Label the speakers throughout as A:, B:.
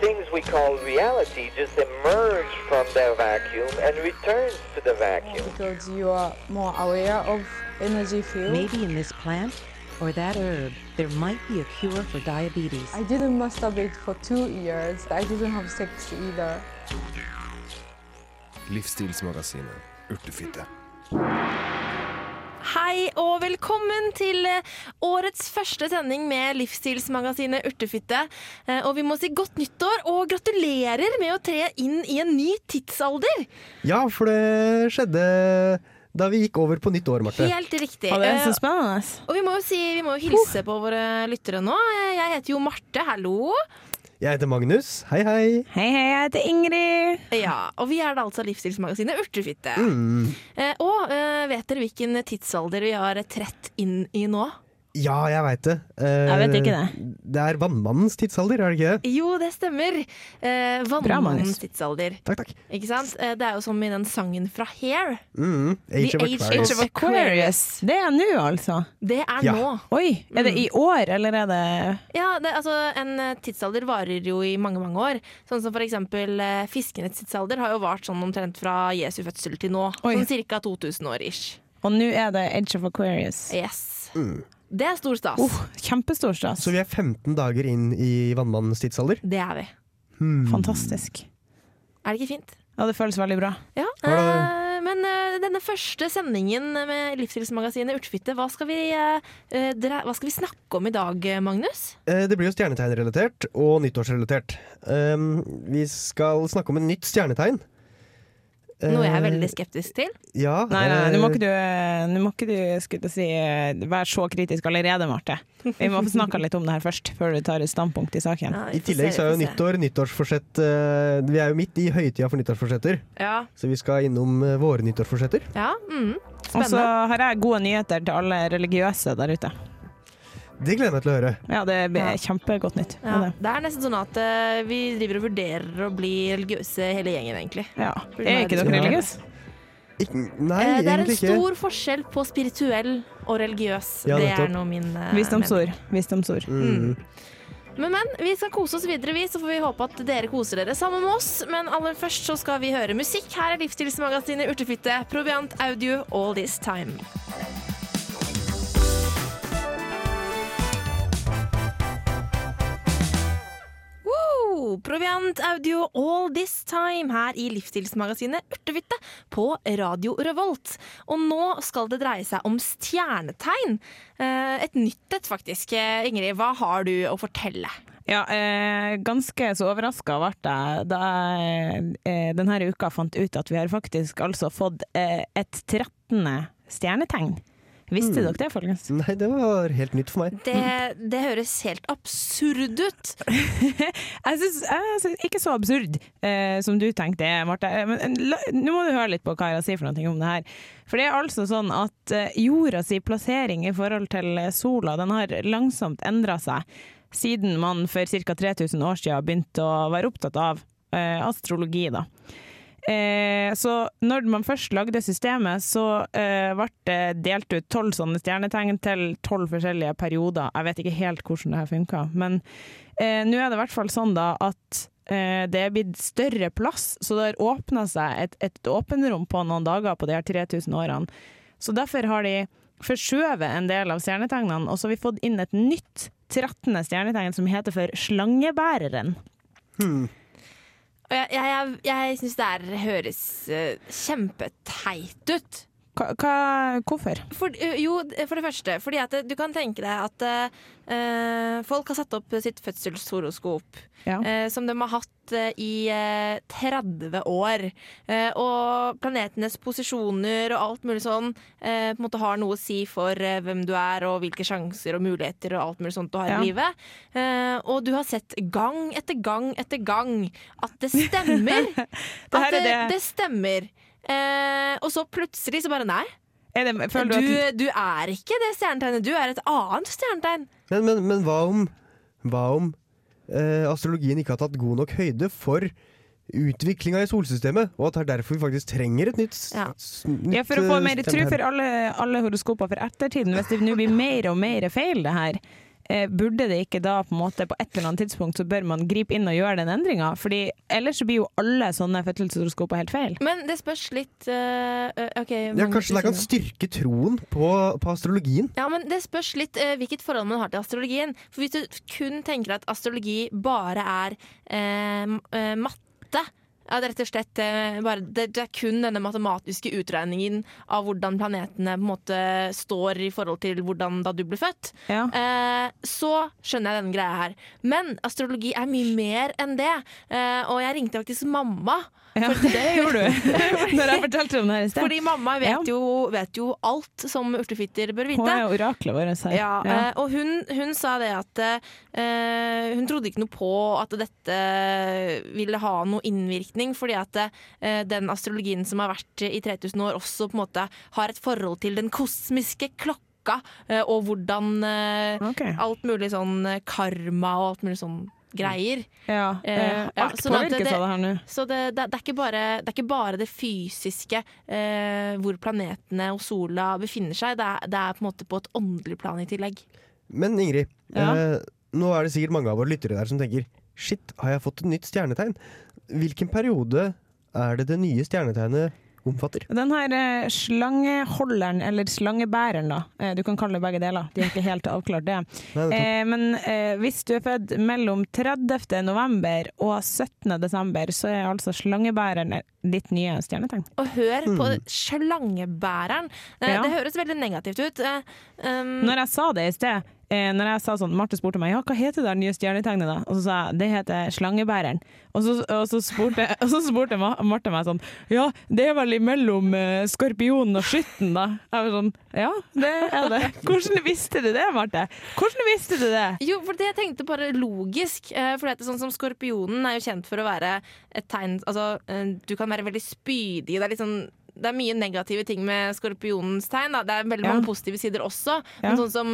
A: things we call reality just emerge from their vacuum and returns to the vacuum.
B: because you are more aware of energy field.
C: Maybe in this plant or that herb, there might be a cure for diabetes.
B: I didn't masturbate for two years. I didn't have sex either.
D: Livsstilsmagasinet Urtefitte.
E: Hei og velkommen til eh, årets første sending med livsstilsmagasinet Urtefitte. Eh, Og vi må si godt nyttår og gratulerer med å tre inn i en ny tidsalder.
F: Ja, for det skjedde da vi gikk over på nytt år, Marte.
E: Helt riktig.
G: Og det er
E: Eh,
G: så spennende.
E: Og vi må jo si, vi må jo hilse på våre lyttere nå. Eh, Jeg heter jo Marte, hallo.
F: Jeg heter Magnus. Hei, hei.
G: Hei, hei, jeg heter Ingrid.
E: Ja, Og vi er da altså livsstilsmagasinet Urtefitte. Eh, Og eh, vet dere hvilken tidsalder vi har trett inn i nå?
F: Ja, jeg veit det. Eh,
G: Jeg vet ikke det.
F: Det er vannmannens tidsalder, er det ikke det?
E: Jo, det stemmer. Eh, Vannmannens
G: Magnus.
E: tidsalder.
F: Takk, takk.
E: Ikke sant? Eh, Det er jo som i den sangen fra Hair.
F: Mm, age
E: The
F: of
E: age
F: Aquarius.
E: of- Aquarius.
G: Aquarius. Det er nå, altså.
E: Det er
F: Ja.
E: nå.
G: Oi, er
E: Mm.
G: det i år, eller er det
E: Ja, det, altså, en eh, tidsalder varer jo i mange, mange år. Sånn som for eksempel eh, fiskenes tidsalder har jo vart sånn omtrent fra Jesu fødsel til nå.
G: Oi.
E: Sånn ca. 2000 år ish.
G: Og nå er det Edge of Aquarius.
E: Yes.
F: Mm.
E: Det er stor stas.
F: Uh.
G: Oh, kjempestor stas.
F: Så vi er 15 dager inn i vannmannens tidsalder.
E: Det er vi. Mm.
G: Fantastisk.
E: Er det ikke fint?
G: Ja, det føles veldig bra.
E: Ja. eh, men eh, denne første sendingen med livsstilsmagasinet Urtefitte, hva, skal vi, eh, eh, dra- hva skal vi snakke om i dag, eh, Magnus?
F: Eh, Det blir jo stjernetegnrelatert og nyttårsrelatert. Um, vi skal snakke om et nytt stjernetegn.
E: Noe jeg er
F: Eh,
E: veldig skeptisk til.
F: Ja.
G: Nei, nei, nei, nå må
F: eh,
G: ikke du, nå må ikke du skulle til å si, eh, være så kritisk allerede, Marte. Vi må få snakka litt om det her først, før du tar et standpunkt i saken.
E: Ja, vi får
F: I
E: se,
F: tillegg så er
E: vi
F: jo
E: får se.
F: nyttår, nyttårsforsett eh, Vi er jo midt i høytida for nyttårsforsetter,
E: Ja.
F: så vi skal innom eh, våre nyttårsforsetter.
E: ja mm.
G: Og så
E: Spennende.
G: har jeg gode nyheter til alle religiøse der ute.
F: Det gleder jeg meg til å høre.
G: Ja, det
E: Ja.
G: er kjempegodt nytt.
E: Ja,
G: Ja.
E: det er nesten sånn at eh, vi driver og vurderer å bli religiøse hele gjengen, egentlig.
G: Ja. Er ikke dere
F: Ja.
G: religiøse?
F: Ikk- nei,
E: Eh, det er en
F: egentlig ikke.
E: stor forskjell på spirituell og religiøs.
F: Ja,
E: det
F: nettopp.
E: er nå min eh,
G: Visdomsord. Visdomsord.
F: Mm.
E: Men, men, vi skal kose oss videre, vi, så får vi håpe at dere koser dere sammen med oss. Men aller først så skal vi høre musikk. Her er Livsstilsmagasinet Urtefitte, Proviant Audio All This Time. Woo! Proviant Audio All This Time her i livsstilsmagasinet Urtefitte på Radio Revolt. Og nå skal det dreie seg om stjernetegn. Eh, Et nytt et, faktisk. Eh, Ingrid, hva har du å fortelle?
G: Ja, eh, ganske så overraska ble jeg da jeg eh, denne uka fant ut at vi har faktisk altså fått eh, et 13. stjernetegn. Visste dere det, folkens?
F: Nei, det var helt nytt for meg.
E: Det, det høres helt absurd ut.
G: Jeg syns jeg syns- ikke så absurd eh, som du tenkte, Marte. Eh, Men la, nå må du høre litt på hva jeg sier for noe om det her. For det er altså sånn at eh, jorda si plassering i forhold til eh, sola, den har langsomt endra seg siden man for ca. 3000 år siden begynte å være opptatt av eh, astrologi, da. Eh, så når man først lagde systemet, så eh, ble det delt ut tolv sånne stjernetegn til tolv forskjellige perioder. Jeg vet ikke helt hvordan det her funka, men eh, nå er det i hvert fall sånn da at eh, det er blitt større plass, så det har åpna seg et, et åpenrom på noen dager på de her 3000 årene. Så derfor har de forskjøvet en del av stjernetegnene, og så har vi fått inn et nytt 13. stjernetegn som heter for slangebæreren.
E: Og jeg jeg, jeg syns det her høres eh, kjempeteit ut.
G: Hva, hva, hvorfor?
E: For, eh, jo, for det første. Fordi at du kan tenke deg at eh, folk har satt opp sitt fødselshoroskop,
G: Ja.
E: eh, som de har hatt eh, i eh, 30 år. Eh, og planetenes posisjoner og alt mulig sånn eh, på en måte har noe å si for eh, hvem du er, og hvilke sjanser og muligheter og alt mulig sånt du har
G: Ja.
E: i livet. Eh, og du har sett gang etter gang etter gang at det stemmer.
G: Det her
E: at
G: er det-
E: det stemmer. Eh, og så plutselig så bare nei.
G: Er det,
E: Du,
G: Eh, føler du at
E: du er ikke det stjernetegnet, du er et annet stjernetegn.
F: Men, men, men hva om, hva om eh, astrologien ikke har tatt god nok høyde for utviklinga i solsystemet, og at det er derfor vi faktisk trenger et nytt, s-
E: Ja.
F: s- nytt
G: Ja, for å få
F: eh,
G: mer tru
F: stjernetegn.
G: for alle, alle horoskoper for ettertiden. Hvis det nå blir mer og mer feil, det her, eh, burde det ikke da på en måte på et eller annet tidspunkt så bør man gripe inn og gjøre den endringa? Fordi ellers så blir jo alle sånne fødselshoroskoper helt feil.
E: Men det spørs litt eh, eh, ok,
F: Ja,
E: Magnus, du
F: kanskje det kan
E: sier noe.
F: styrke troen på, på astrologien?
E: Ja, men Det spørs litt eh, hvilket forhold man har til astrologien. For Hvis du kun tenker at astrologi bare er eh, m- eh, matte ja, det, er rett og slett, eh, bare, det, det er kun denne matematiske utregningen av hvordan planetene på en måte står i forhold til hvordan da du ble født.
G: Ja.
E: Eh, så skjønner jeg denne greia her. Men astrologi er mye mer enn det. Eh, og jeg ringte faktisk mamma.
G: Ja, det gjorde du når jeg fortalte om det her i sted.
E: Fordi mamma
G: Ja.
E: vet, jo, vet jo alt som urtefitter bør
G: Hun
E: vite.
G: er jo oraklet vårt her.
E: Ja, eh, og hun, hun sa det at eh, hun trodde ikke noe på at dette ville ha noe innvirkning, fordi at eh, den astrologien som har vært i 3000 år, også på en måte har et forhold til den kosmiske klokka, eh, og hvordan eh,
G: Ok.
E: alt mulig sånn eh, karma og alt mulig sånn greier.
G: Ja, eh,
E: Eh, ja,
G: alt
E: sånn at det-
G: påvirkes av det her nå.
E: Så det, det, det, er ikke bare, det er ikke bare det fysiske, eh, hvor planetene og sola befinner seg. Det er, det er på en måte på et åndelig plan i tillegg.
F: Men Ingrid,
G: Ja.
F: eh, nå er det sikkert mange av våre lyttere der som tenker Shit, har jeg fått et nytt stjernetegn? Hvilken periode er det det nye stjernetegnet omfatter?
G: Den her eh, slangeholderen, eller slangebæreren da, eh, du kan kalle det begge deler, de har ikke helt avklart det.
F: Nei, nettopp.
G: Eh, men eh, hvis du er født mellom 30. november og 17. desember, så er altså slangebæreren ditt nye stjernetegn.
E: Og hør på slangebæreren. Eh,
G: Ja.
E: Det høres veldig negativt ut. Eh, um,
G: Når jeg sa det i sted, eh, når jeg sa sånn, Marte spurte meg ja, hva heter det nye stjernetegnet da? Og så sa jeg det heter slangebæreren. Og så, og så spurte, og så spurte Ma- Marte meg sånn ja, det er vel imellom eh, skorpionen og skytten da? Jeg var sånn ja, det er det. Hvordan visste du det, Marte? Hvordan visste du det?
E: jo, for det jeg tenkte bare logisk. eh, For det er sånn som Skorpionen er jo kjent for å være et tegn Altså, eh, du kan være veldig spydig. Det er litt sånn det er mye negative ting med skorpionens tegn. Da. Det er veldig
G: Ja.
E: mange positive sider også.
G: Ja.
E: Men sånn som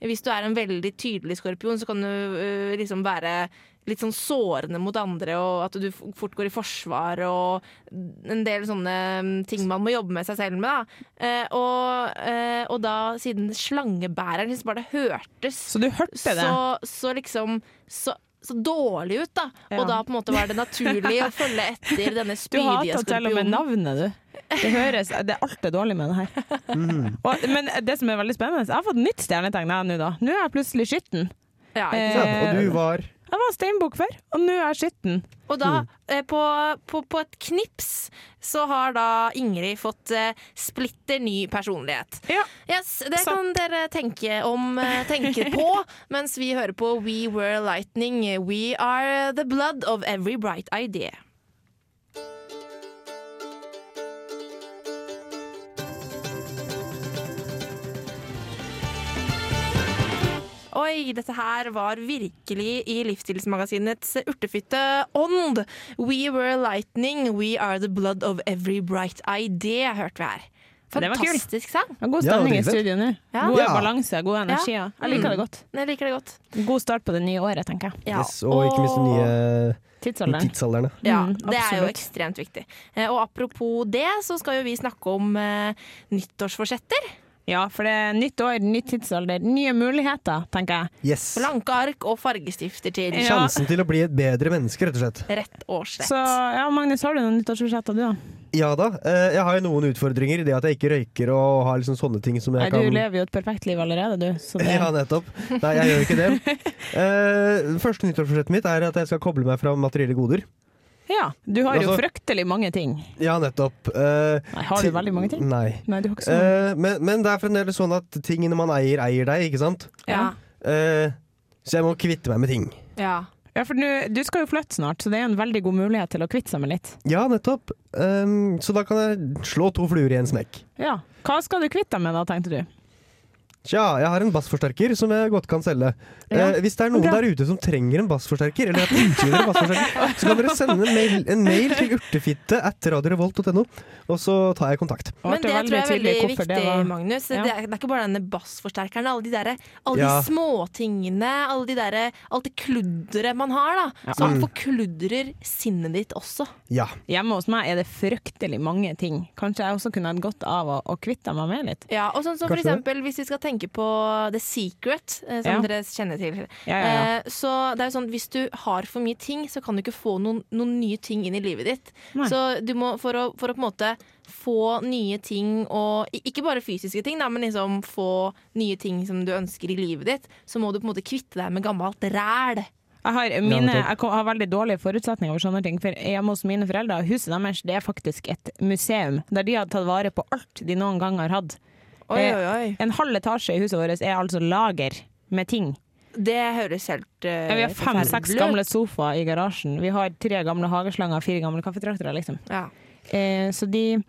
E: hvis du er en veldig tydelig skorpion, så kan du eh, liksom være litt sånn sårende mot andre, og at du f- fort går i forsvar, og en del sånne mm, ting man må jobbe med seg selv med. Da. Eh, og, eh, og da, siden slangebæreren hvis bare det hørtes
G: Så du hørte det?
E: så, så liksom så, så dårlig ut, da.
G: Ja.
E: Og da på en måte var det naturlig å følge etter denne
G: Du
E: spydige
G: hater til og
E: skorpionen.
G: med navnet, du. Det høres, det er alt det dårlige med det her. Og, men det som er veldig spennende, jeg har fått nytt stjernetegn jeg nå, da. Nå er jeg plutselig skytten.
E: Ja, ikke sant?
G: Eh,
F: Ja, og du var
G: Jeg var steinbukk før, og nå er jeg skytten.
E: Og da, eh, på, på, på et knips, så har da Ingrid fått eh, splitter ny personlighet.
G: Ja.
E: Yes, Det
G: Sant.
E: kan dere tenke om, eh, tenke på, mens vi hører på We Were Lightning. We are the blood of every bright idea. Oi, dette her var virkelig i livsstilsmagasinets urtefitte ånd. We were lightning, we are the blood of every bright idea, hørte vi her.
G: Det var kult.
E: Fantastisk sang.
G: Det er God
F: Ja,
G: stemning i
F: dritfett.
G: studio nå.
E: Ja.
G: God
F: Ja.
G: balanse, god energi. Ja. Jeg liker det godt.
E: Jeg liker det godt.
G: God start på det nye året, tenker jeg.
E: Ja,
F: yes, Og ikke minst den nye
G: Tidsalderen.
F: tidsalderen. da.
E: Ja,
G: Mm,
E: det er jo
G: absolutt.
E: ekstremt viktig. Eh, Og apropos det, så skal jo vi snakke om eh, nyttårsforsetter.
G: Ja, for det er nytt år, nytt tidsalder, nye muligheter, tenker jeg.
F: Yes.
E: Blanke ark og fargestifter til.
G: Ja.
F: Sjansen til å bli et bedre menneske, rett og slett.
E: Rett og slett.
G: Så ja, Magnus, har du noen nyttårsforsetter du, da?
F: Ja da. eh, Jeg har jo noen utfordringer. Det at jeg ikke røyker og har liksom sånne ting som jeg
G: Nei, du
F: kan
G: lever jo et perfekt liv allerede, du. Så det,
F: Ja, nettopp. Nei, jeg gjør ikke det. Eh, første nyttårsforsettet mitt er at jeg skal koble meg fra materielle goder.
G: ja, du har jo
F: Altså-
G: fryktelig mange ting.
F: Ja, nettopp. Eh,
G: Nei, har du
F: til-
G: veldig mange ting?
F: Nei.
G: Nei, du har ikke så mange.
F: Eh, men, men det er fremdeles sånn at tingene man eier, eier deg, ikke sant?
E: ja.
F: Eh, så jeg må kvitte meg med ting.
E: ja.
G: Ja, for nå- du skal jo flytte snart, så det er en veldig god mulighet til å kvitte seg med litt.
F: Ja, nettopp. Eh, så da kan jeg slå to fluer i en smekk.
G: Ja. Hva skal du kvitte deg med da, tenkte du?
F: Tja, jeg har en bassforsterker som jeg godt kan selge.
G: Ja.
F: Eh, hvis det er noen
G: Ok.
F: der ute som trenger en bassforsterker, eller jeg tenker en bassforsterker, så kan dere sende en mail, en mail til urtefitte at radiorevolt.no, og så tar jeg kontakt.
E: Men
G: ble
E: det tror jeg er
G: tydelig
E: veldig
G: hvorfor
E: viktig,
G: det var-
E: Magnus.
G: Ja.
E: Det, er, det er ikke bare denne bassforsterkeren. Alle de, derre- alle
F: Ja.
E: de småtingene, alle de derre alt det kludderet man har, da. Som
F: Mm.
E: forkludrer sinnet ditt også.
F: Ja.
G: Hjemme hos meg er det fryktelig mange ting. Kanskje jeg også kunne hatt godt av å, å kvitte meg med litt.
E: Ja, og sånn som for
F: Kanskje det.
E: eksempel, Hvis vi skal tenker på The Secret, eh, som
G: Ja.
E: dere kjenner til.
G: Ja, ja, ja.
E: Eh, Så det er jo sånn, Hvis du har for mye ting, så kan du ikke få noen, noen nye ting inn i livet ditt.
G: Nei.
E: Så du må, for å, for å på en måte få nye ting, og i- ikke bare fysiske ting, da, men liksom få nye ting som du ønsker i livet ditt, så må du på en måte kvitte deg med gammelt ræl.
G: Jeg har, mine,
F: nettopp.
G: jeg kom- har veldig dårlige forutsetninger for sånne ting. For hjemme hos mine foreldre, huset deres, det er faktisk et museum. Der de har tatt vare på alt de noen gang har hatt. Eh,
E: Oi, oi, oi.
G: En halv etasje i huset vårt er altså lager med ting.
E: Det høres helt eh,
G: Ja, vi har fem-seks
E: forferdelig ut.
G: gamle sofaer i garasjen. Vi har tre gamle hageslanger, fire gamle kaffetraktorer, liksom.
E: Ja.
G: Eh, så de,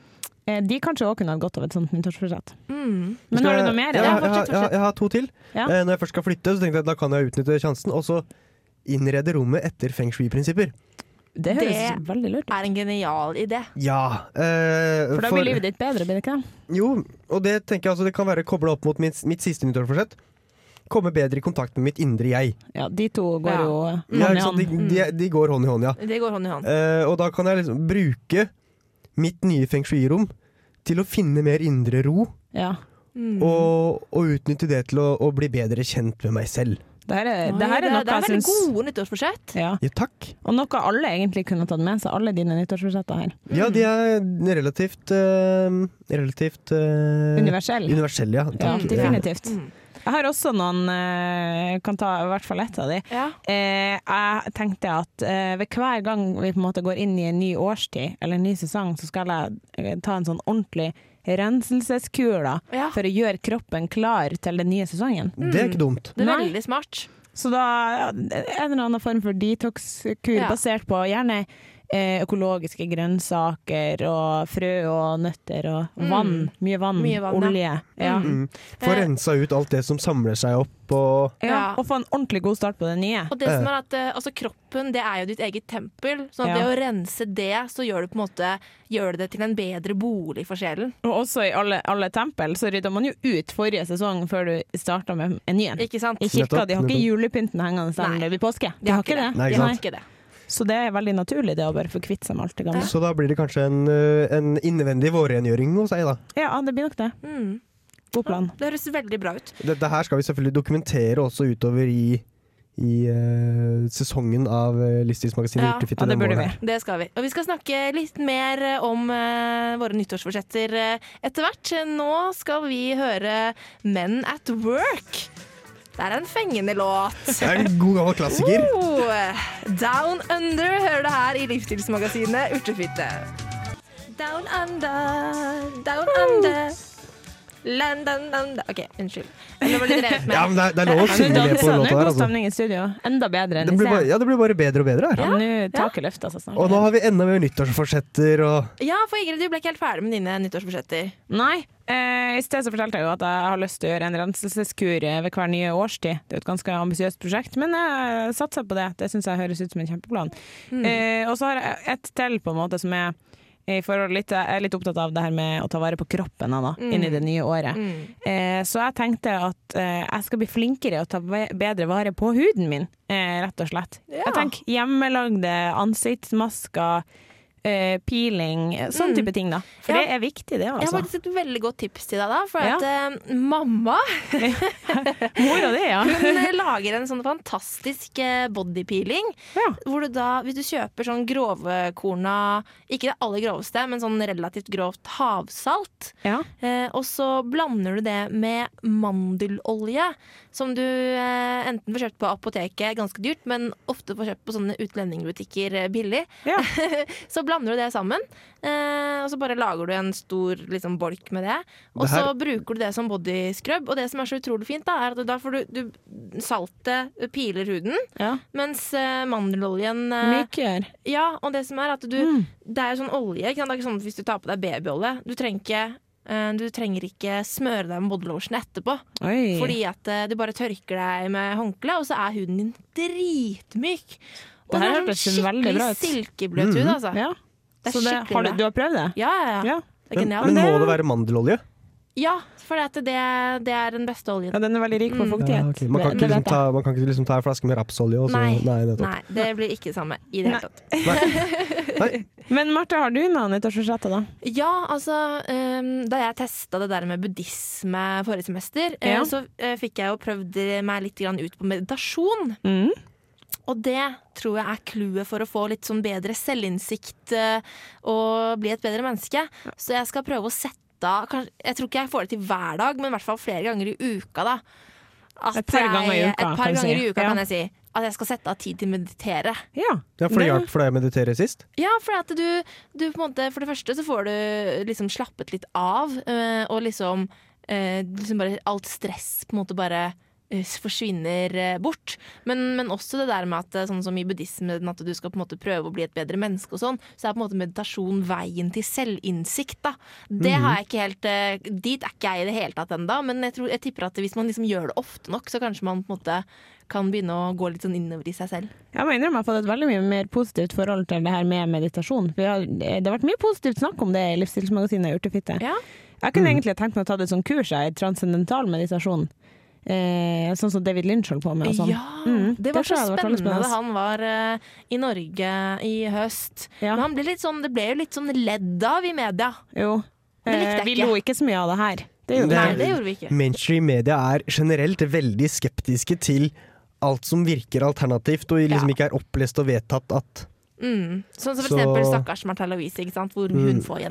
G: eh, de kanskje òg kunne hatt godt av et sånt nyttårsforsett.
E: Mm.
G: Men har du noe mer?
F: Ja,
G: Ja,
F: jeg, har- jeg,
G: fortsett,
F: har-
G: fortsett.
F: jeg har to til.
G: Ja.
F: Eh, når jeg først skal flytte, så tenkte jeg at da kan jeg utnytte sjansen. Og så innrede rommet etter feng shui-prinsipper.
G: Det høres
E: Det-
G: veldig lurt ut.
E: Er en genial idé.
F: Ja. eh,
G: For da blir livet ditt bedre, blir det ikke det?
F: Jo, og det tenker jeg altså, det kan være kobla opp mot mitt, mitt siste nyttårsforsett. Komme bedre i kontakt med mitt indre jeg.
G: Ja, de to går
E: Ja.
G: jo hånd
F: Ja,
G: i
F: ikke sant?
G: hånd.
F: De, de, de går hånd i hånd, ja.
E: Det går hånd i hånd.
F: Eh, og da kan jeg liksom bruke mitt nye feng shui-rom til å finne mer indre ro,
G: Ja.
E: Mm.
F: og, og utnytte det til å, å bli bedre kjent med meg selv.
G: Det her er,
E: Oi,
G: Eh, det her er noe
E: det er
G: jeg
E: veldig
G: syns
E: gode nyttårsforsett.
G: ja.
F: Ja, takk.
G: Og noe alle egentlig kunne tatt med seg, alle dine nyttårsforsetter her.
F: Ja, de er relativt eh, Relativt eh,
G: Universell.
F: universelle, ja.
G: Ja,
F: Takk.
G: definitivt.
E: Mm.
G: Jeg har også noen eh, Kan ta i hvert fall ett av de.
E: Ja.
G: Eh, jeg tenkte at eh, ved hver gang vi på en måte går inn i en ny årstid eller en ny sesong, så skal jeg eh, ta en sånn ordentlig renselseskur da,
E: Ja.
G: for å gjøre kroppen klar til den nye sesongen.
F: Det er ikke dumt.
E: Det er
G: Nei.
E: veldig smart.
G: Så da ja, en eller annen form for detox-kur
E: Ja.
G: basert på gjerne eh, økologiske grønnsaker og frø og nøtter og vann. Mye vann.
E: Mm. Mye vann, ja.
G: olje. Ja.
F: Mm. Få
E: Eh.
F: rensa ut alt det som samler seg opp, og
G: Ja.
E: Ja.
G: Og få en ordentlig god start på det nye.
E: Og det som er at eh, altså, Kroppen det er jo ditt eget tempel, så
G: Ja.
E: det å rense det, så gjør det på en måte Gjør det til en bedre bolig for sjelen.
G: Og også i alle, alle tempel så rydda man jo ut forrige sesong før du starta med en ny en.
E: Ikke sant?
G: I kirka
F: Nettopp,
G: de har ikke
F: nettopp.
G: julepynten hengende
E: Nei.
G: selv om det blir påske.
E: De har ikke det.
F: Nei,
E: De
F: ikke
E: har
F: sant.
E: ikke det.
G: Så det er veldig naturlig det å bare få kvitte seg med alt det gamle.
F: Så da blir det kanskje en, eh, en innvendig vårrengjøring hos deg, da.
G: Ja, det blir nok det.
E: Mm.
G: God plan.
E: Det høres veldig bra ut.
F: Dette her skal vi selvfølgelig dokumentere også utover i, i eh, sesongen av uh, Livsstilsmagasinet
E: Ja,
F: Urtefitte.
G: ja, det
F: denne
G: burde
F: våren
G: vi.
F: her.
E: Det skal vi. Og vi skal snakke litt mer eh, om eh, våre nyttårsforsetter eh, etter hvert. Nå skal vi høre Men at Work. Det er en fengende låt.
F: Det er en god gammel klassiker.
E: Oh, Down Under hører det her i livsstilsmagasinet Urtefitte. Down under, down under. London under OK, unnskyld. Det var litt revet med.
F: Ja, men det er, det er lov å
G: Ja, Nå
F: synge med på den låta
G: danser, nå er god liksom.
F: der, altså.
G: stemning i studio. Enda bedre enn
F: Det
G: i
F: blir, bare,
G: sted.
F: ja, det blir bare bedre og bedre her.
G: Ja, Nå taket løfter seg snart.
F: Og nå har vi enda mer nyttårsforsetter og
E: Ja, for Ingrid, du ble ikke helt ferdig med dine nyttårsforsetter.
G: Nei. Eh, I sted så fortalte jeg jo at jeg har lyst til å gjøre en renselseskur eh, ved hver nye årstid. Det er jo et ganske ambisiøst prosjekt, men jeg satser på det. Det syns jeg høres ut som en kjempeplan.
E: Mm.
G: Eh, og så har jeg et til, på en måte, som er i forhold litt, jeg er litt opptatt av det her med å ta vare på kroppen da,
E: Mm.
G: inn i det nye året. Eh, så jeg tenkte at eh, jeg skal bli flinkere og ta ve- bedre vare på huden min, eh, rett og slett.
E: Ja.
G: Jeg tenker hjemmelagde ansiktsmasker, eh, peeling, eh, sånn type ting da.
E: Mm.
G: For
E: Ja.
G: det er viktig det,
E: Jeg har
G: altså.
E: faktisk et veldig godt tips til deg, da. For
G: Ja.
E: at eh, mamma
G: Mora di, ja.
E: hun lager en sånn fantastisk eh, body peeling.
G: ja.
E: Hvor du da, hvis du kjøper sånn grovkorna, ikke det aller groveste, men sånn relativt grovt havsalt. Eh, og så blander du det med mandelolje, som du eh, enten får kjøpt på apoteket ganske dyrt, men ofte får kjøpt på sånne utlendingbutikker eh, billig.
G: Ja.
E: så blander du det sammen, eh, og så bare lager du en stor liksom, bolk med det. Og
F: Det her-
E: så bruker du det som bodyscrub, og det som er så utrolig fint, da, er at da får du, du Saltet piler huden,
G: ja.
E: mens eh, mandeloljen eh,
G: Mykere.
E: ja, og det som er at du
G: Mm.
E: Det er jo sånn olje, ikke sant? Det er ikke sånn at hvis du tar på deg babyolje Du trenger ikke, eh, du trenger ikke smøre deg med bodylotion etterpå.
G: Oi.
E: Fordi at eh, du bare tørker deg med håndkle, og så er huden din dritmyk. Og
G: Det
E: den
G: her
E: er
G: hørtes
E: sånn
G: veldig bra
E: skikkelig
G: ut. Mhm.
E: silkebløt hud, altså.
G: ja.
E: Det er
G: Så det,
E: skikkelig
G: har du,
E: bra.
G: du har prøvd det?
E: Ja, ja, ja.
G: Ja.
E: Det er
F: Men,
E: genialt.
F: men må det være mandelolje?
E: Ja, for det, at det, det er den beste oljen.
G: Ja, den er veldig rik på
E: Mm.
G: fuktighet.
F: ok. man, kan
G: Det-
F: ikke
G: det
F: liksom
G: vet jeg.
F: ta, man kan ikke liksom ta en flaske med rapsolje og så
E: Nei.
F: nettopp.
E: Nei, det blir ikke det samme i det hele
G: Nei.
E: tatt.
G: Men Marte, har du noen nyttårsforsetter, da?
E: Ja, altså ehm, Da jeg testa det der med buddhisme forrige semester, eh,
G: Ja.
E: så eh, fikk jeg jo prøvd meg litt grann ut på meditasjon.
G: Mm.
E: Og det tror jeg er clouet for å få litt sånn bedre selvinnsikt eh, og bli et bedre menneske. Så jeg skal prøve å sette av kanskje, Jeg tror ikke jeg får det til hver dag, men i hvert fall flere ganger i uka, da. At
G: Et par ganger i
E: jeg-
G: uka,
E: Et
G: kan
E: par
G: du si.
E: ganger i uka
G: Ja.
E: kan jeg si. At jeg skal sette av tid til å meditere.
G: Ja.
F: Ja, for det
G: Det-
F: hjalp for deg å meditere sist?
E: Ja, for at du, du på en måte For det første så får du liksom slappet litt av, eh, og liksom, eh, liksom bare Alt stress på en måte bare eh, forsvinner eh, bort. Men, men også det der med at eh, sånn som i buddhismen at du skal på en måte prøve å bli et bedre menneske og sånn, så er på en måte meditasjon veien til selvinnsikt, da. Det har jeg ikke helt eh, Dit er ikke jeg i det hele tatt ennå, men jeg, tror, jeg tipper at hvis man liksom gjør det ofte nok, så kanskje man på en måte kan begynne å gå litt sånn innover i seg selv.
G: Jeg må innrømme jeg har fått et veldig mye mer positivt forhold til det her med meditasjon. For jeg har, det har vært mye positivt snakk om det i livsstilsmagasinet Urtefitte.
E: Ja.
G: Jeg
F: Mm.
G: kunne egentlig tenkt meg å ta det som kurs, jeg, i transcendental meditasjon. Eh, sånn som David Lynch holdt på med og sånn.
E: Ja,
G: Mm,
E: det var
G: det
E: så
G: tror jeg hadde vært veldig
E: spennende
G: spennende.
E: da han var eh, i Norge i høst.
G: Ja.
E: Men han ble litt sånn, det ble jo litt sånn ledd av i media.
G: Jo.
E: Det likte jeg
G: Eh, vi
E: ikke.
G: lo ikke så mye av det her. Det gjorde
E: Nei,
G: vi.
F: er-
E: det gjorde vi ikke.
F: Mainstream media er generelt veldig skeptiske til alt som virker alternativt, og liksom
E: Ja.
F: ikke er opplest og vedtatt at
E: Mm. Sånn som for
F: Så-
E: eksempel stakkars Märtha Louise, ikke sant? hvor hun får
G: Ja,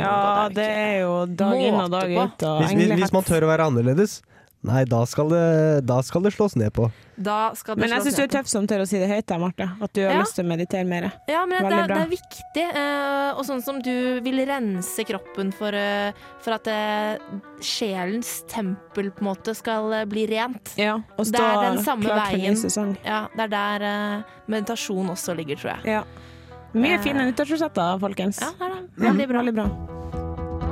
E: gjennomgå.
G: det er jo dag inn og dag
E: Måte på.
G: ut. Og
F: Hvis, hvis, hvis man
G: englehets.
F: tør å være annerledes, nei, da skal det, da skal det slås ned på.
E: Da skal det
G: Men jeg
E: slås
G: syns du
E: ned
G: er
E: på.
G: tøff som tør å si det høyt, der, Marte. At du har
E: Ja.
G: lyst til å meditere mer.
E: Ja, men det,
G: Veldig
E: er-
G: bra.
E: det er viktig. eh, og sånn som du vil rense kroppen for, eh, for at eh, sjelens tempel på en måte skal eh, bli rent.
G: Ja, og
E: Det
G: stå
E: er den samme
G: klar for ny
E: veien.
G: sesong.
E: Ja, Det er der eh, meditasjon også ligger, tror jeg.
G: Ja. Mye
E: Eh.
G: fine nyttårsforsetter, folkens.
E: Ja, det er det. Mm. Veldig bra.
G: Veldig bra.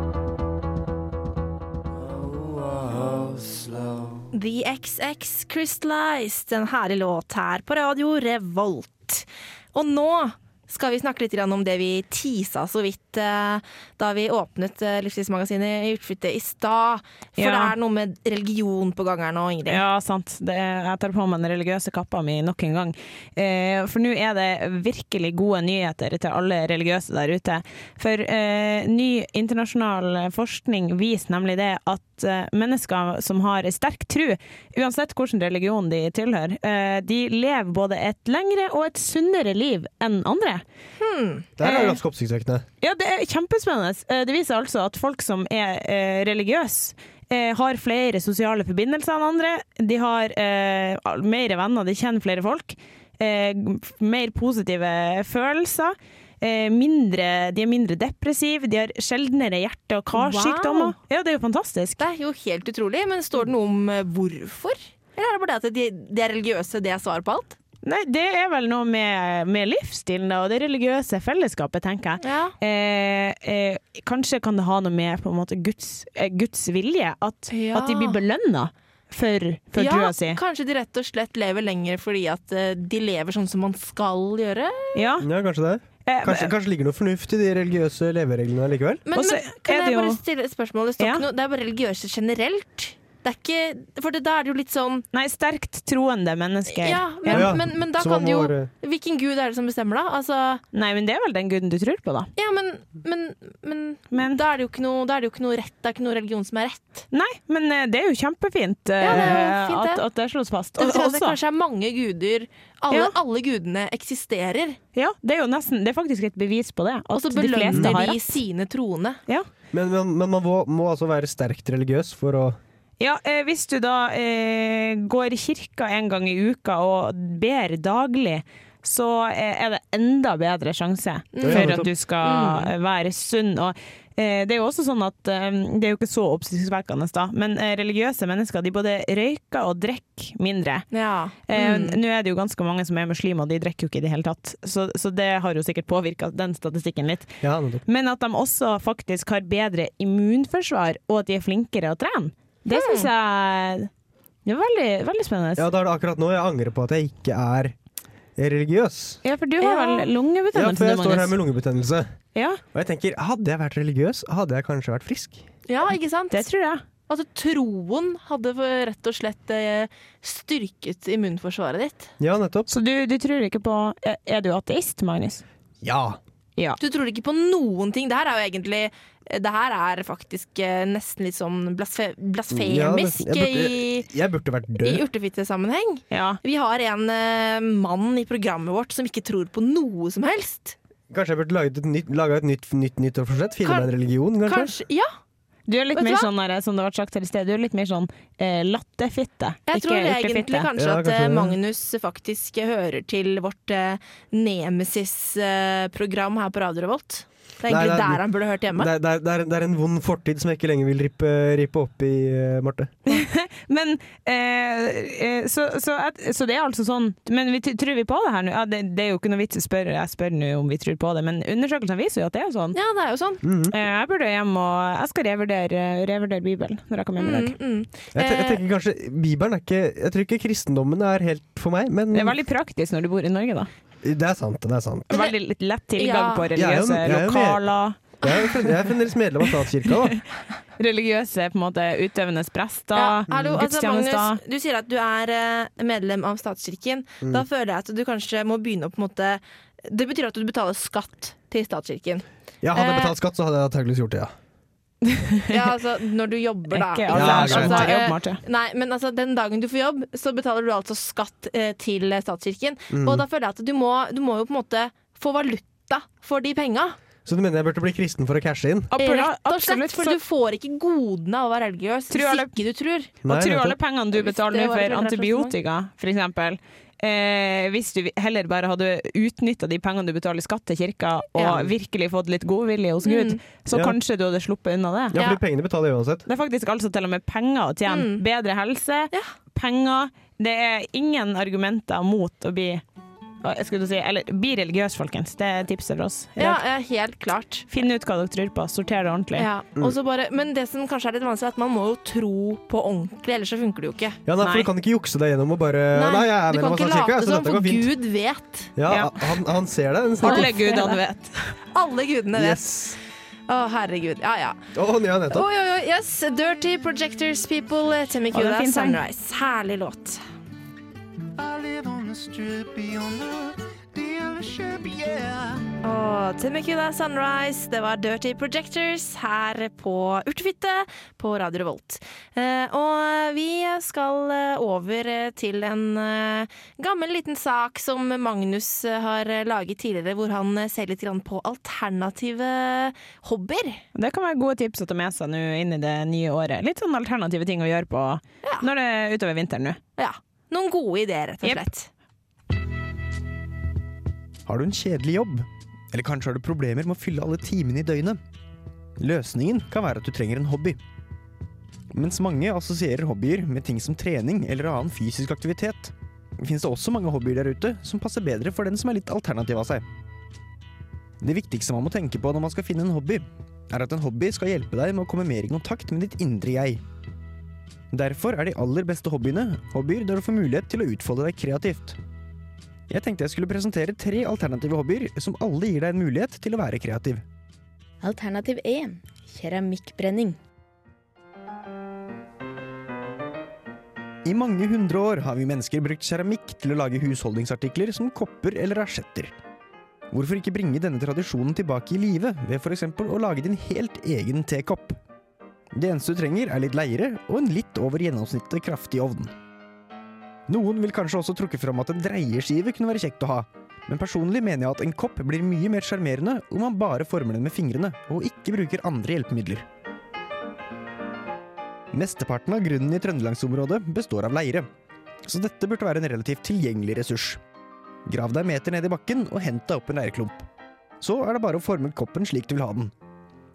E: The XX Crystallized, en herlig låt her på Radio Revolt. Og nå skal vi snakke litt grann om det vi tisa så vidt eh, da vi åpnet eh, Livsstilsmagasinet i Utflyttet i stad. For
G: Ja.
E: det er noe med religion på gang her nå, Ingrid.
G: Ja, sant. Det er, jeg tar på meg den religiøse kappa mi nok en gang. Eh, for nå er det virkelig gode nyheter til alle religiøse der ute. For eh, ny internasjonal forskning viser nemlig det at eh, mennesker som har sterk tru, uansett hvilken religion de tilhører, eh, de lever både et lengre og et sunnere liv enn andre.
F: Det her er
G: Eh.
F: jo ganske oppsiktsvekkende.
G: Ja, det er kjempespennende. Eh, Det viser altså at folk som er eh, religiøse, eh, har flere sosiale forbindelser enn andre. De har eh, al- mer venner, de kjenner flere folk. Eh, f- mer positive følelser. Eh, mindre, de er mindre depressive. De har sjeldnere hjerte- og karsykdommer.
E: Wow.
G: Ja, det er jo fantastisk.
E: Det er jo helt utrolig, men står det noe om eh, hvorfor? Eller er det bare det at de, de er religiøse, det er svaret på alt?
G: Nei, det er vel noe med, med livsstilen da, og det religiøse fellesskapet, tenker jeg.
E: Ja.
G: Eh, eh, kanskje kan det ha noe med på en måte Guds, eh, Guds vilje, at,
E: Ja.
G: at de blir belønna for, for
E: ja,
G: trua si.
E: kanskje de rett og slett lever lenger fordi at eh, de lever sånn som man skal gjøre?
G: Ja.
F: Ja, kanskje det.
G: Eh,
F: Kanskje, kanskje ligger noe fornuft i de religiøse levereglene likevel?
E: Men,
G: Og så
E: men kan
G: er det
E: jeg bare
G: jo-
E: stille et spørsmål? Det, står
G: Ja.
E: ikke noe, det er bare religiøse generelt. Det er ikke, for det, da er det jo litt sånn
G: nei, sterkt troende mennesker.
E: Ja, men,
F: Ja.
E: men, men da
F: Så man
E: kan det jo
F: må være-
E: Hvilken gud er det som bestemmer, da? Altså,
G: Nei, men det er vel den guden du tror på, da.
E: ja, men, men, men
G: Men,
E: da er det jo ikke noe, da er det jo ikke noe rett. Det er ikke noe religion som er rett.
G: nei, men eh, det er jo kjempefint eh,
E: Ja, det er jo fint,
G: at,
E: det.
G: at det slås fast.
E: Det
G: Og-
E: betyr at det
G: også-
E: kanskje er mange guder. Alle,
G: Ja.
E: alle gudene eksisterer.
G: ja, det er jo nesten Det er faktisk et bevis på det. At
E: Og så
G: de fleste
E: belønner
G: har
E: de
G: rett.
E: sine troende.
G: Ja.
F: Men, men, men man må, må altså være sterkt religiøs for å
G: Ja, eh, hvis du da eh, går i kirka en gang i uka og ber daglig, så eh, er det enda bedre sjanse for at du skal eh, være sunn. Og eh, det er jo også sånn at eh, Det er jo ikke så oppsiktsvekkende, da, men eh, religiøse mennesker de både røyker og drikker mindre.
E: Ja.
G: Eh,
E: Mm.
G: Nå er det jo ganske mange som er muslimer, og de drikker jo ikke i det hele tatt. Så, så det har jo sikkert påvirka den statistikken litt.
F: Ja, nettopp.
G: Men at de også faktisk har bedre immunforsvar, og at de er flinkere å trene. Det syns jeg det er veldig, veldig spennende.
F: Ja, da er det akkurat nå jeg angrer på at jeg ikke er religiøs.
G: Ja, for du har
E: Ja.
F: Ja,
G: vel
F: for
G: lungebetennelse,
F: jeg
G: du,
F: står her
G: Magnus?
F: med lungebetennelse.
G: Ja,
F: Og jeg tenker, hadde jeg vært religiøs, hadde jeg kanskje vært frisk.
E: ja, ikke sant?
G: det tror jeg.
E: Altså, troen hadde rett og slett eh, styrket immunforsvaret ditt.
H: Ja, nettopp.
G: Så du, du tror ikke på Er er du ateist, Magnus?
H: Ja!
G: Ja.
E: Du tror ikke på noen ting. Det her er jo egentlig eh, Det her er faktisk eh, nesten litt sånn blasfe
H: Ja, det-
E: blasfemisk
H: jeg, burde,
E: i,
H: jeg burde vært
E: i
H: død.
E: urtefittesammenheng.
G: ja.
E: Vi har en eh, mann i programmet vårt som ikke tror på noe som helst.
H: Kanskje jeg burde laget et nytt, laget et nytt, nytt nyttårsforsett? Finne
E: Kan-
H: meg en religion, kanskje?
E: Kanskje, ja.
G: Du er litt
E: Vet du
G: mer
E: hva?
G: sånn, der, som det ble sagt her i sted, du er litt mer sånn eh, lattefitte.
E: Jeg tror egentlig
G: urtefitte.
E: kanskje
H: Ja,
E: at
H: kanskje
E: eh,
H: det.
E: Magnus faktisk hører til vårt eh, Nemesis-program her på Radio Revolt. Det er
H: Nei,
E: egentlig
H: det er-
E: der han burde hørt hjemme.
H: Det er, det, er, det, er, det er en vond fortid som jeg ikke lenger vil rippe, rippe opp i, eh, Marte.
G: Men eh, eh, så, så, at, så det er altså sånn Men vi t- tror vi på det her nå? Ja, det, det er jo ikke noe vits å spørre, jeg spør nå om vi tror på det, men undersøkelsene viser jo at det er sånn.
E: Ja, det er jo sånn.
G: Eh, jeg burde hjem og Jeg skal revurdere, revurdere Bibelen når jeg kommer hjem i dag.
E: Mm, mm.
H: Jeg, te- jeg
E: Eh,
H: tenker kanskje Bibelen er ikke Jeg tror ikke kristendommen er helt for meg, men
G: Det er veldig praktisk når du bor i Norge, da.
H: det er sant. Det er sant.
G: Veldig litt lett tilgang
E: Ja.
G: på
H: Jeg er jo-
G: religiøse
H: jeg er jo med-
G: lokaler.
H: Jeg er jo fremdeles- jeg er fremdeles medlem av statskirka, da.
G: Religiøse på en måte utøvende prester,
E: Ja, hallo, altså,
G: gudstjenester.
E: Magnus, du sier at du er eh, medlem av statskirken. Da føler jeg at du kanskje må begynne å på en måte Det betyr at du betaler skatt til statskirken.
H: Ja, hadde jeg
E: Eh,
H: betalt skatt, så hadde jeg antakeligvis gjort det, ja.
E: Ja, altså når du jobber, da.
G: Ikke
E: Ikke
G: alle
H: Ja,
E: sant?
H: er som
E: Altså,
G: har
E: eh,
G: jobb, Marte.
E: Nei, men altså den dagen du får jobb, så betaler du altså skatt eh, til statskirken. Og da føler jeg at du må, du må jo på en måte få valuta for de penga.
H: Så du mener jeg burde bli kristen for å cashe inn?
E: Eh, Rett og
G: Absolutt,
E: slett, for du får ikke godene av å være religiøs
G: Tror
E: hvis
G: alle-
E: ikke du tror.
H: Nei,
G: og tror
H: nettopp.
G: alle pengene du
E: Hvis
G: betaler
E: det
G: nå
E: var et
G: for
E: eller annet
G: antibiotika, f.eks. Eh, hvis du heller bare hadde utnytta de pengene du betaler i skatt til kirka, og
E: Ja. Mm.
G: virkelig fått litt godvilje hos Gud, så
H: Ja.
G: kanskje du hadde sluppet unna det.
H: Ja,
E: Ja.
H: fordi pengene betaler jeg uansett.
G: Det er faktisk altså til og med penger å tjene.
E: Mm.
G: Bedre helse, penger Det er ingen argumenter mot å bli å, jeg skulle til å si, eller, bli religiøs, folkens. Det er tipset fra oss. i
E: Ja,
G: dag.
E: ja, helt klart.
G: Finn ut hva dere tror på, sorter det ordentlig.
E: Ja,
H: Mm.
E: og så bare, men det som kanskje er litt vanskelig, er at man må jo tro på ordentlig, ellers så funker det jo ikke.
H: Ja, nei, for
G: Nei.
H: Du kan ikke jukse deg gjennom og bare Eh, Nei, jeg er
E: du
H: medlem
E: kan
H: av
E: ikke
H: statskirka,
E: late
H: så
E: som,
H: dette
E: for
H: går fint.
E: Gud vet.
H: Ja,
G: Ja.
H: han, han ser det. Den snakker.
G: Alle gudene vet.
E: Alle gudene vet.
H: Yes.
E: Å, herregud. Ja, ja.
H: Å, ja, nettopp.
E: Oi, oi, oi. Yes. Dirty Projectors People, eh, Timmy
G: Å, det er
E: Kuda,
G: fin sang.
E: Sunrise. Herlig låt. Og Temekuda Sunrise, det var Dirty Projectors her på Urtefitte på Radio Revolt. Eh, og vi skal eh, over eh, til en eh, gammel liten sak som Magnus eh, har eh, laget tidligere, hvor han eh, ser litt grann på alternative hobbyer.
G: Det kan være gode tips å ta med seg nå inn i det nye året. Litt sånn alternative ting å gjøre på når det er utover vinteren nå.
E: Ja, noen gode ideer, rett og
G: Jep.
E: slett.
F: Har du en kjedelig jobb? Eller kanskje har du problemer med å fylle alle timene i døgnet? Løsningen kan være at du trenger en hobby. Mens mange assosierer hobbyer med ting som trening eller annen fysisk aktivitet, finnes det også mange hobbyer der ute som passer bedre for den som er litt alternativ av seg. Det viktigste man må tenke på når man skal finne en hobby, er at en hobby skal hjelpe deg med å komme mer i kontakt med ditt indre jeg. Derfor er de aller beste hobbyene hobbyer der du får mulighet til å utfolde deg kreativt. Jeg tenkte jeg skulle presentere tre alternative hobbyer som alle gir deg en mulighet til å være kreativ.
I: Alternativ 1. Keramikkbrenning.
F: I mange hundre år har vi mennesker brukt keramikk til å lage husholdningsartikler som kopper eller asjetter. Hvorfor ikke bringe denne tradisjonen tilbake i live ved f.eks. å lage din helt egen tekopp? Det eneste du trenger, er litt leire og en litt over gjennomsnittet kraftig ovn. Noen vil kanskje også trukke fram at en dreieskive kunne være kjekt å ha, men personlig mener jeg at en kopp blir mye mer sjarmerende om man bare former den med fingrene, og ikke bruker andre hjelpemidler. Mesteparten av grunnen i Trøndelagsområdet består av leire, så dette burde være en relativt tilgjengelig ressurs. Grav deg en meter ned i bakken og hent deg opp en leirklump. Så er det bare å forme koppen slik du vil ha den.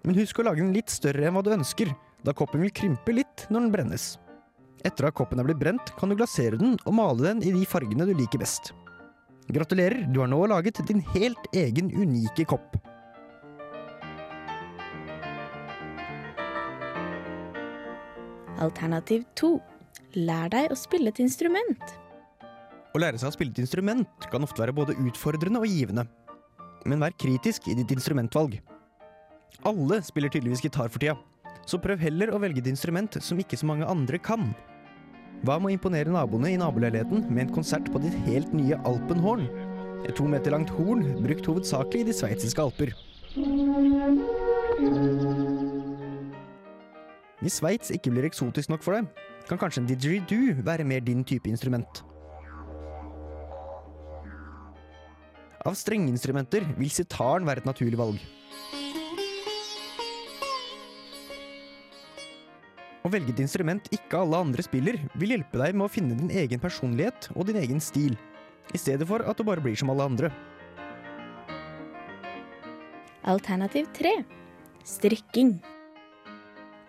F: Men husk å lage den litt større enn hva du ønsker, da koppen vil krympe litt når den brennes. Etter at koppen er blitt brent, kan du glasere den og male den i de fargene du liker best. Gratulerer, du har nå laget din helt egen unike kopp.
I: Alternativ 2. Lær deg å spille et instrument.
F: Å lære seg å spille et instrument kan ofte være både utfordrende og givende. Men vær kritisk i ditt instrumentvalg. Alle spiller tydeligvis gitar for tida, så prøv heller å velge et instrument som ikke så mange andre kan. Hva med å imponere naboene i naboleiligheten med en konsert på ditt helt nye alpenhorn? Et to meter langt horn brukt hovedsakelig i de sveitsiske alper. Hvis Sveits ikke blir eksotisk nok for deg, kan kanskje en didgeridoo være mer din type instrument. Av strengeinstrumenter vil sitaren være et naturlig valg. Å velge et instrument ikke alle andre spiller, vil hjelpe deg med å finne din egen personlighet og din egen stil, i stedet for at du bare blir som alle andre.
J: Alternativ 3. Strikking.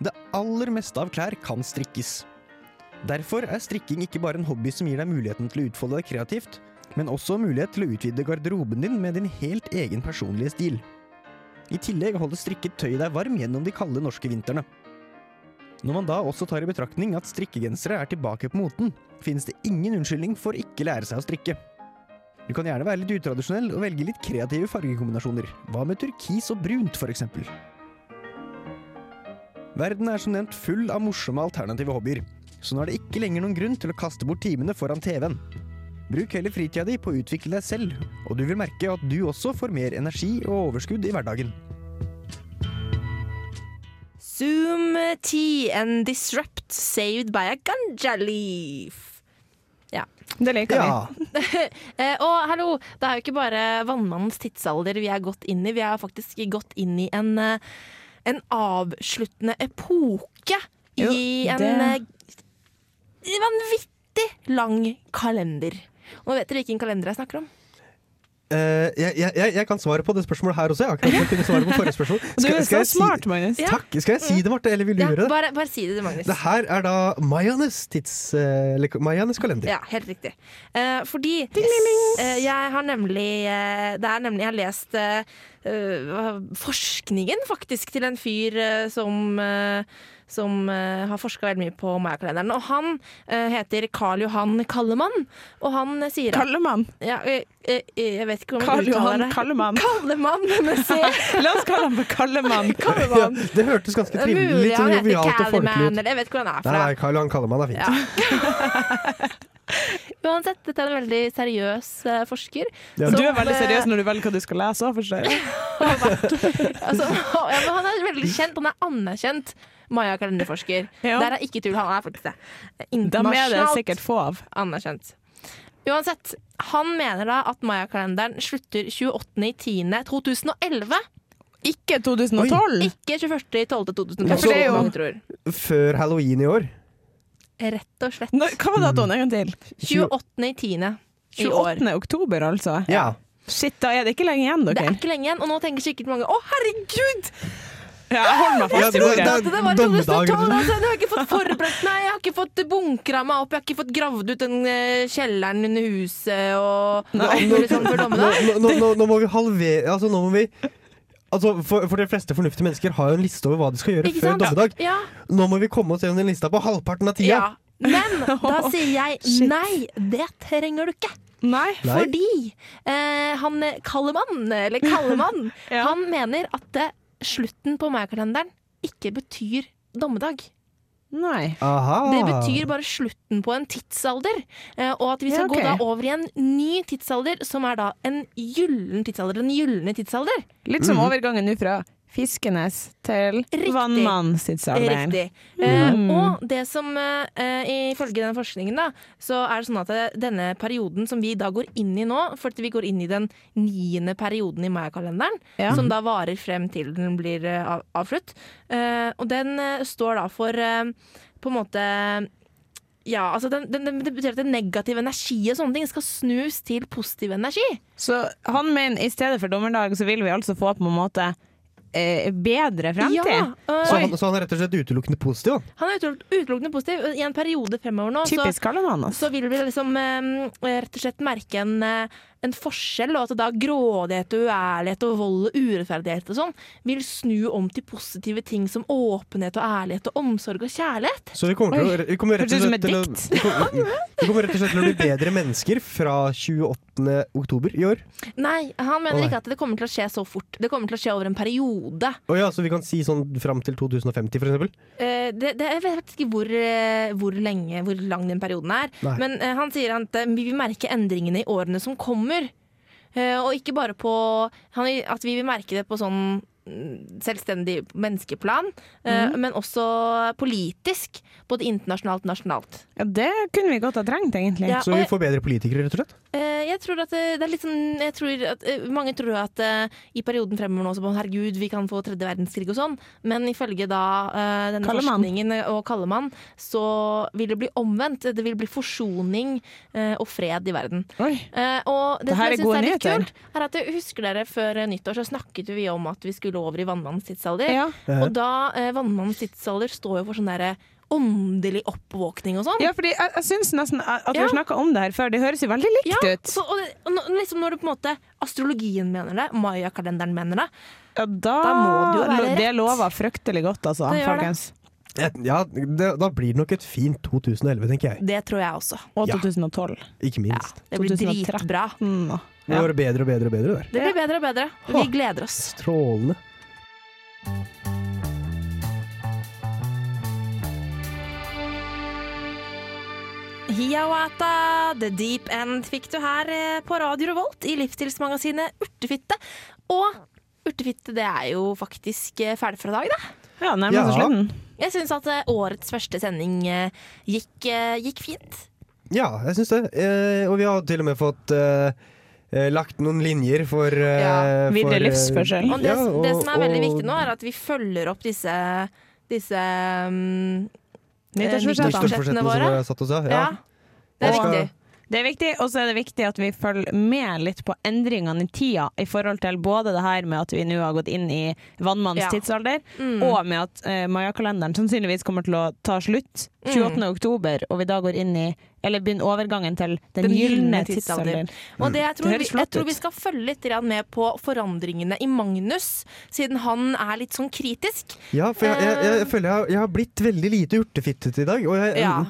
F: Det aller meste av klær kan strikkes. Derfor er strikking ikke bare en hobby som gir deg muligheten til å utfolde deg kreativt, men også mulighet til å utvide garderoben din med din helt egen personlige stil. I tillegg holder strikket tøyet deg varm gjennom de kalde norske vintrene. Når man da også tar i betraktning at strikkegensere er tilbake på moten, finnes det ingen unnskyldning for ikke lære seg å strikke. Du kan gjerne være litt utradisjonell og velge litt kreative fargekombinasjoner. Hva med turkis og brunt, for eksempel? Verden er som nevnt full av morsomme alternative hobbyer, så nå er det ikke lenger noen grunn til å kaste bort timene foran TV-en. Bruk heller fritida di på å utvikle deg selv, og du vil merke at du også får mer energi og overskudd i hverdagen.
E: Zoom tea and disrupt saved by a ganja leaf.
G: Det liker vi.
E: Eh, og hallo, det er jo ikke bare vannmannens tidsalder vi er gått inn i. Vi er faktisk gått inn i en, eh, en avsluttende epoke
G: Jo,
E: i en
G: det-
E: eh, vanvittig lang kalender. Og nå vet dere hvilken kalender jeg snakker om.
K: Eh, jeg, jeg, jeg- jeg kan svare på det spørsmålet her også. Jeg har ikke jeg kunne svare på forrige spørsmål.
G: Du er så
K: jeg si-
G: smart, Magnus.
E: Ja.
K: Takk! Skal jeg si det, Marte, eller vil du
E: Ja,
K: gjøre det?
E: bare, bare si det til Magnus.
K: Det her er da Mayanes tids... eh, eller Mayanes kalender.
E: Ja, helt riktig. Eh, fordi eh, jeg har nemlig eh, Det er nemlig jeg har lest eh, eh, forskningen, faktisk, til en fyr eh, som eh, som eh, har forska veldig mye på Maya-kalenderen. Og han eh, heter Karl Johan Kallemann. Og han eh, sier at
G: Kallemann.
E: ja, eh, eh, Jeg vet ikke om
G: Karl
E: jeg uttaler
G: Johan
E: det.
G: Kallemann.
E: Kallemann med C.
G: La oss kalle ham for Kallemann.
K: Ja,
E: Kallemann.
K: det hørtes ganske trivelig,
E: Mulig
K: litt sånn
E: han heter
K: jovialt og folkelig
E: Callyman,
K: ut.
E: eller jeg vet ikke hvor han er
K: Nei,
E: fra.
K: nei, Karl Johan Kallemann er fint.
E: Ja. Uansett, dette er en veldig seriøs eh, forsker.
K: Ja.
G: Du
E: som,
G: er veldig
E: eh,
G: seriøs når du velger hva du skal lese. også, Forstår jeg.
E: har vært, altså, ja, men han er veldig kjent, han er anerkjent Maya-kalenderforsker.
G: Ja.
E: Der er ikke tull, han er faktisk det.
G: Dem er det
E: Internasjonalt
G: sikkert få av.
E: anerkjent. Uansett, han mener da at Maya-kalenderen slutter 28.10.2011,
G: Ikke 2012!
E: ikke 21.12.2012,
G: Ja, for det er jo-
E: som mange tror.
K: Før halloween i år.
E: Rett og slett.
G: Nå, hva var datoen en gang til?
E: 28.10. i år.
G: 28. oktober, altså.
K: Ja.
G: Shit, da er det ikke lenge igjen,
E: Det
G: dere.
E: er ikke lenge igjen, og nå tenker sikkert mange å herregud!
G: Ja, jeg holder meg
K: Ja,
G: fast i
K: det-
G: ordet.
K: det-
E: at det var
K: Dommedag,
E: 2012,
K: liksom.
E: altså. Jeg har ikke fått forberedt meg, jeg har ikke fått bunkra meg opp, jeg har ikke fått gravd ut den eh, kjelleren under huset og og alt mulig
F: liksom
E: sånn for
K: Nå,
E: dommedag.
K: nå, nå, nå må vi halvere Altså, nå må vi Altså, for, for de fleste fornuftige mennesker har jo en liste over hva de skal gjøre
E: Ikke
K: før
E: sant?
K: dommedag.
E: Ja.
K: Nå må vi komme oss gjennom den lista på halvparten av tida.
E: ja. Men da sier jeg
G: Shit.
E: nei, det trenger du ikke.
G: Nei.
K: Nei.
E: Fordi eh, han eh, Kallemann, eller Kallemann,
G: Ja.
E: han mener at eh, slutten på Maya-kalenderen ikke betyr dommedag.
G: Nei.
K: Aha.
E: Det
G: Ah.
E: betyr bare slutten på en tidsalder. eh, Og at vi
G: Ja,
E: skal
G: ok.
E: gå da over i en ny tidsalder, som er da en gyllen tidsalder. Den gylne tidsalder.
G: Litt som overgangen nå fra Fiskenes til
E: Mhm. Riktig.
G: Vannmannstidsalderen.
E: Riktig. Eh, og det som eh, eh, ifølge den forskningen, da, så er det sånn at eh, denne perioden som vi da går inn i nå, for at vi går inn i den niende perioden i Maya-kalenderen,
G: Ja.
E: som da varer frem til den blir eh, av, avslutt, eh, og den eh, står da for eh, på en måte ja, altså den, den, den, Det betyr at den negative energi og sånne ting skal snus til positiv energi.
G: Så han mener i stedet for dommerdag, så vil vi altså få på en måte eh, bedre fremtid.
E: Ja, øh,
K: Så han, så han er rett og slett utelukkende positiv, da?
E: Han er utelukk- utelukkende positiv. eh, I en periode fremover nå så,
G: Typisk Kallemann. Altså.
E: så vil vi liksom eh, rett og slett merke en, eh, en forskjell, og at da grådighet og uærlighet og vold og urettferdighet og sånn vil snu om til positive ting som åpenhet og ærlighet og omsorg og kjærlighet.
F: Så vi kommer, til å, vi kommer rett og
G: Hørtes ut som
F: slett
G: et
F: til å
G: dikt.
F: vi kommer, vi kommer rett og slett til å bli bedre mennesker fra 28. oktober i år.
E: Nei, han mener
F: Å, nei.
E: ikke at det kommer til å skje så fort. Det kommer til å skje over en periode.
F: Å ja, så vi kan si sånn fram til 2050, for eksempel.
E: Eh, det, det, jeg vet ikke hvor, eh, hvor lenge, hvor lang den perioden er.
F: Nei.
E: Men eh, han sier at eh, vi vil merke endringene i årene som kommer. Eh, og ikke bare på han, At vi vil merke det på sånn mm, selvstendig menneskeplan, eh,
F: Mhm.
E: men også politisk. Både internasjonalt og nasjonalt.
G: Ja, det kunne vi godt ha trengt, egentlig.
E: Ja,
F: Så
E: og
F: vi
E: jeg-
F: får bedre politikere, rett og slett.
E: Eh, jeg tror at eh, det er litt sånn jeg tror at, eh, Mange tror at eh, i perioden fremover nå så bare, herregud, vi kan få tredje verdenskrig og sånn, men ifølge da eh, denne
G: Kallemann.
E: forskningen og Kallemann, så vil det bli omvendt. Det vil bli forsoning eh, og fred i verden.
G: Oi.
E: Eh, og det,
G: Det
E: som jeg
G: her er
E: synes
G: gode
E: er litt
G: nyheter.
E: kult, er at jeg husker dere før eh, nyttår så snakket jo vi om at vi skulle over i vannmannens tidsalder.
G: Ja.
E: Og da eh, vannmannens tidsalder står jo for sånn derre åndelig oppvåkning og sånn.
G: Ja, fordi jeg, jeg syns nesten at at vi
E: Ja.
G: har snakka om det her før. Det høres jo veldig likt
E: Ja,
G: ut.
E: så, og det, og nå- liksom når du på en måte astrologien mener det, mayakalenderen mener det
G: Ja, da,
E: Da må det jo være
G: Det
E: rett.
G: lover fryktelig godt, altså,
E: Det gjør det.
G: folkens.
F: Et- Ja, det, da blir det nok et fint 2011, tenker jeg.
E: Det tror jeg også.
G: Og
F: Ja.
G: 2012.
F: Ikke minst.
E: Det blir
G: 2013.
E: dritbra.
G: Mm, da.
F: Det var bedre og bedre og bedre der.
E: Det blir bedre og bedre. Vi gleder oss.
F: Strålende.
E: Hiawatha, The Deep End fikk du her eh, på Radio Revolt i livsstilsmagasinet Urtefitte. Og Urtefitte det er jo faktisk eh, ferdig for i dag, det.
G: Ja, nærmer seg
F: Ja.
G: slutten.
E: Jeg syns at eh, årets første sending eh, gikk, eh, gikk fint.
F: Ja, jeg syns det. Eh, og vi har til og med fått eh, eh, lagt noen linjer for eh,
E: Ja,
G: videre
F: for, eh,
G: livsførsel.
E: Og det,
F: ja, og-
E: det som er veldig
F: og-
E: viktig nå, er at vi følger opp disse, disse mm,
G: Nyttårsforsett, da.
E: Budsjettene
F: Nyttårsforsettene som
E: våre.
F: vi har satt oss av. Ja.
E: Ja. Det er
F: Og-
E: viktig.
G: Det er viktig, og så er det viktig at vi følger med litt på endringene i tida i forhold til både det her med at vi nå har gått inn i vannmannens
E: Ja. Mm.
G: tidsalder, og med at eh, mayakalenderen sannsynligvis kommer til å ta slutt
E: Mm.
G: 28. oktober, og vi da går inn i, eller begynner overgangen til den, gylne tidsalder.
E: Og det, jeg, tror
G: Det høres
E: vi, jeg
G: flott
E: tror
G: ut.
E: vi skal følge litt grann med på forandringene i Magnus, siden han er litt sånn kritisk.
F: Ja, for jeg, jeg, jeg, føler jeg har, jeg har blitt veldig lite urtefittete i dag. Og jeg,
E: Eh. Ja,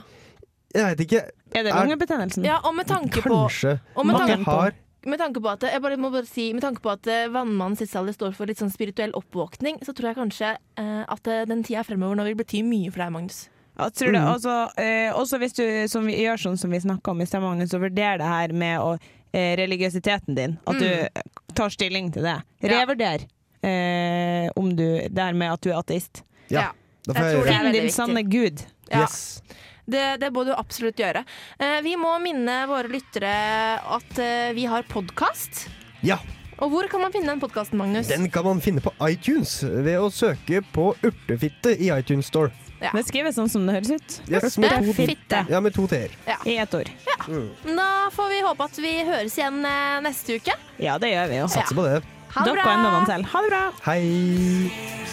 F: jeg vet ikke
G: Er det
F: Er-
G: lungebetennelsen?
E: ja og med tanke på
F: Kanskje.
E: og med
F: at jeg
E: tanke-
F: har
E: Med tanke på at jeg bare må bare si Med tanke på at eh, vannmannens tidsalder står for litt sånn spirituell oppvåkning, så tror jeg kanskje eh, at eh, den tida fremover nå vil bety mye for deg, Magnus.
G: Jeg tror
E: Mm.
G: det. Også, eh, også hvis du som vi, gjør sånn som vi snakka om i sted, Magnus, og vurderer det her med å, eh, religiøsiteten din. At du tar stilling til det.
E: Mm. Ja.
G: Revurder eh, om du Det her med at du er ateist.
F: Ja.
E: Ja.
F: Da
E: Jeg
F: får jeg
E: tror det er
F: gjøre
G: Finn
E: veldig
G: din
E: viktig.
G: sanne gud.
F: det.
E: Ja.
F: Yes.
E: Det, det må du absolutt gjøre. Eh, vi må minne våre lyttere at eh, vi har podkast.
F: Ja,
E: Og hvor kan man finne den podkasten, Magnus?
F: den kan man finne på iTunes ved å søke på urtefitte i iTunes Store.
E: Ja.
G: Det skrives sånn som det høres ut.
F: Yes,
E: Det
F: med
E: er
F: to,
E: fitte.
F: ja, med to t-er.
G: I ett ord.
E: Da får vi håpe at vi høres igjen eh, neste uke.
G: Ja, det gjør vi jo.
E: Ja.
F: Satser på det.
E: Ha det
G: Dere og
E: bra!
G: enda noen til. Ha det bra!
F: Hei!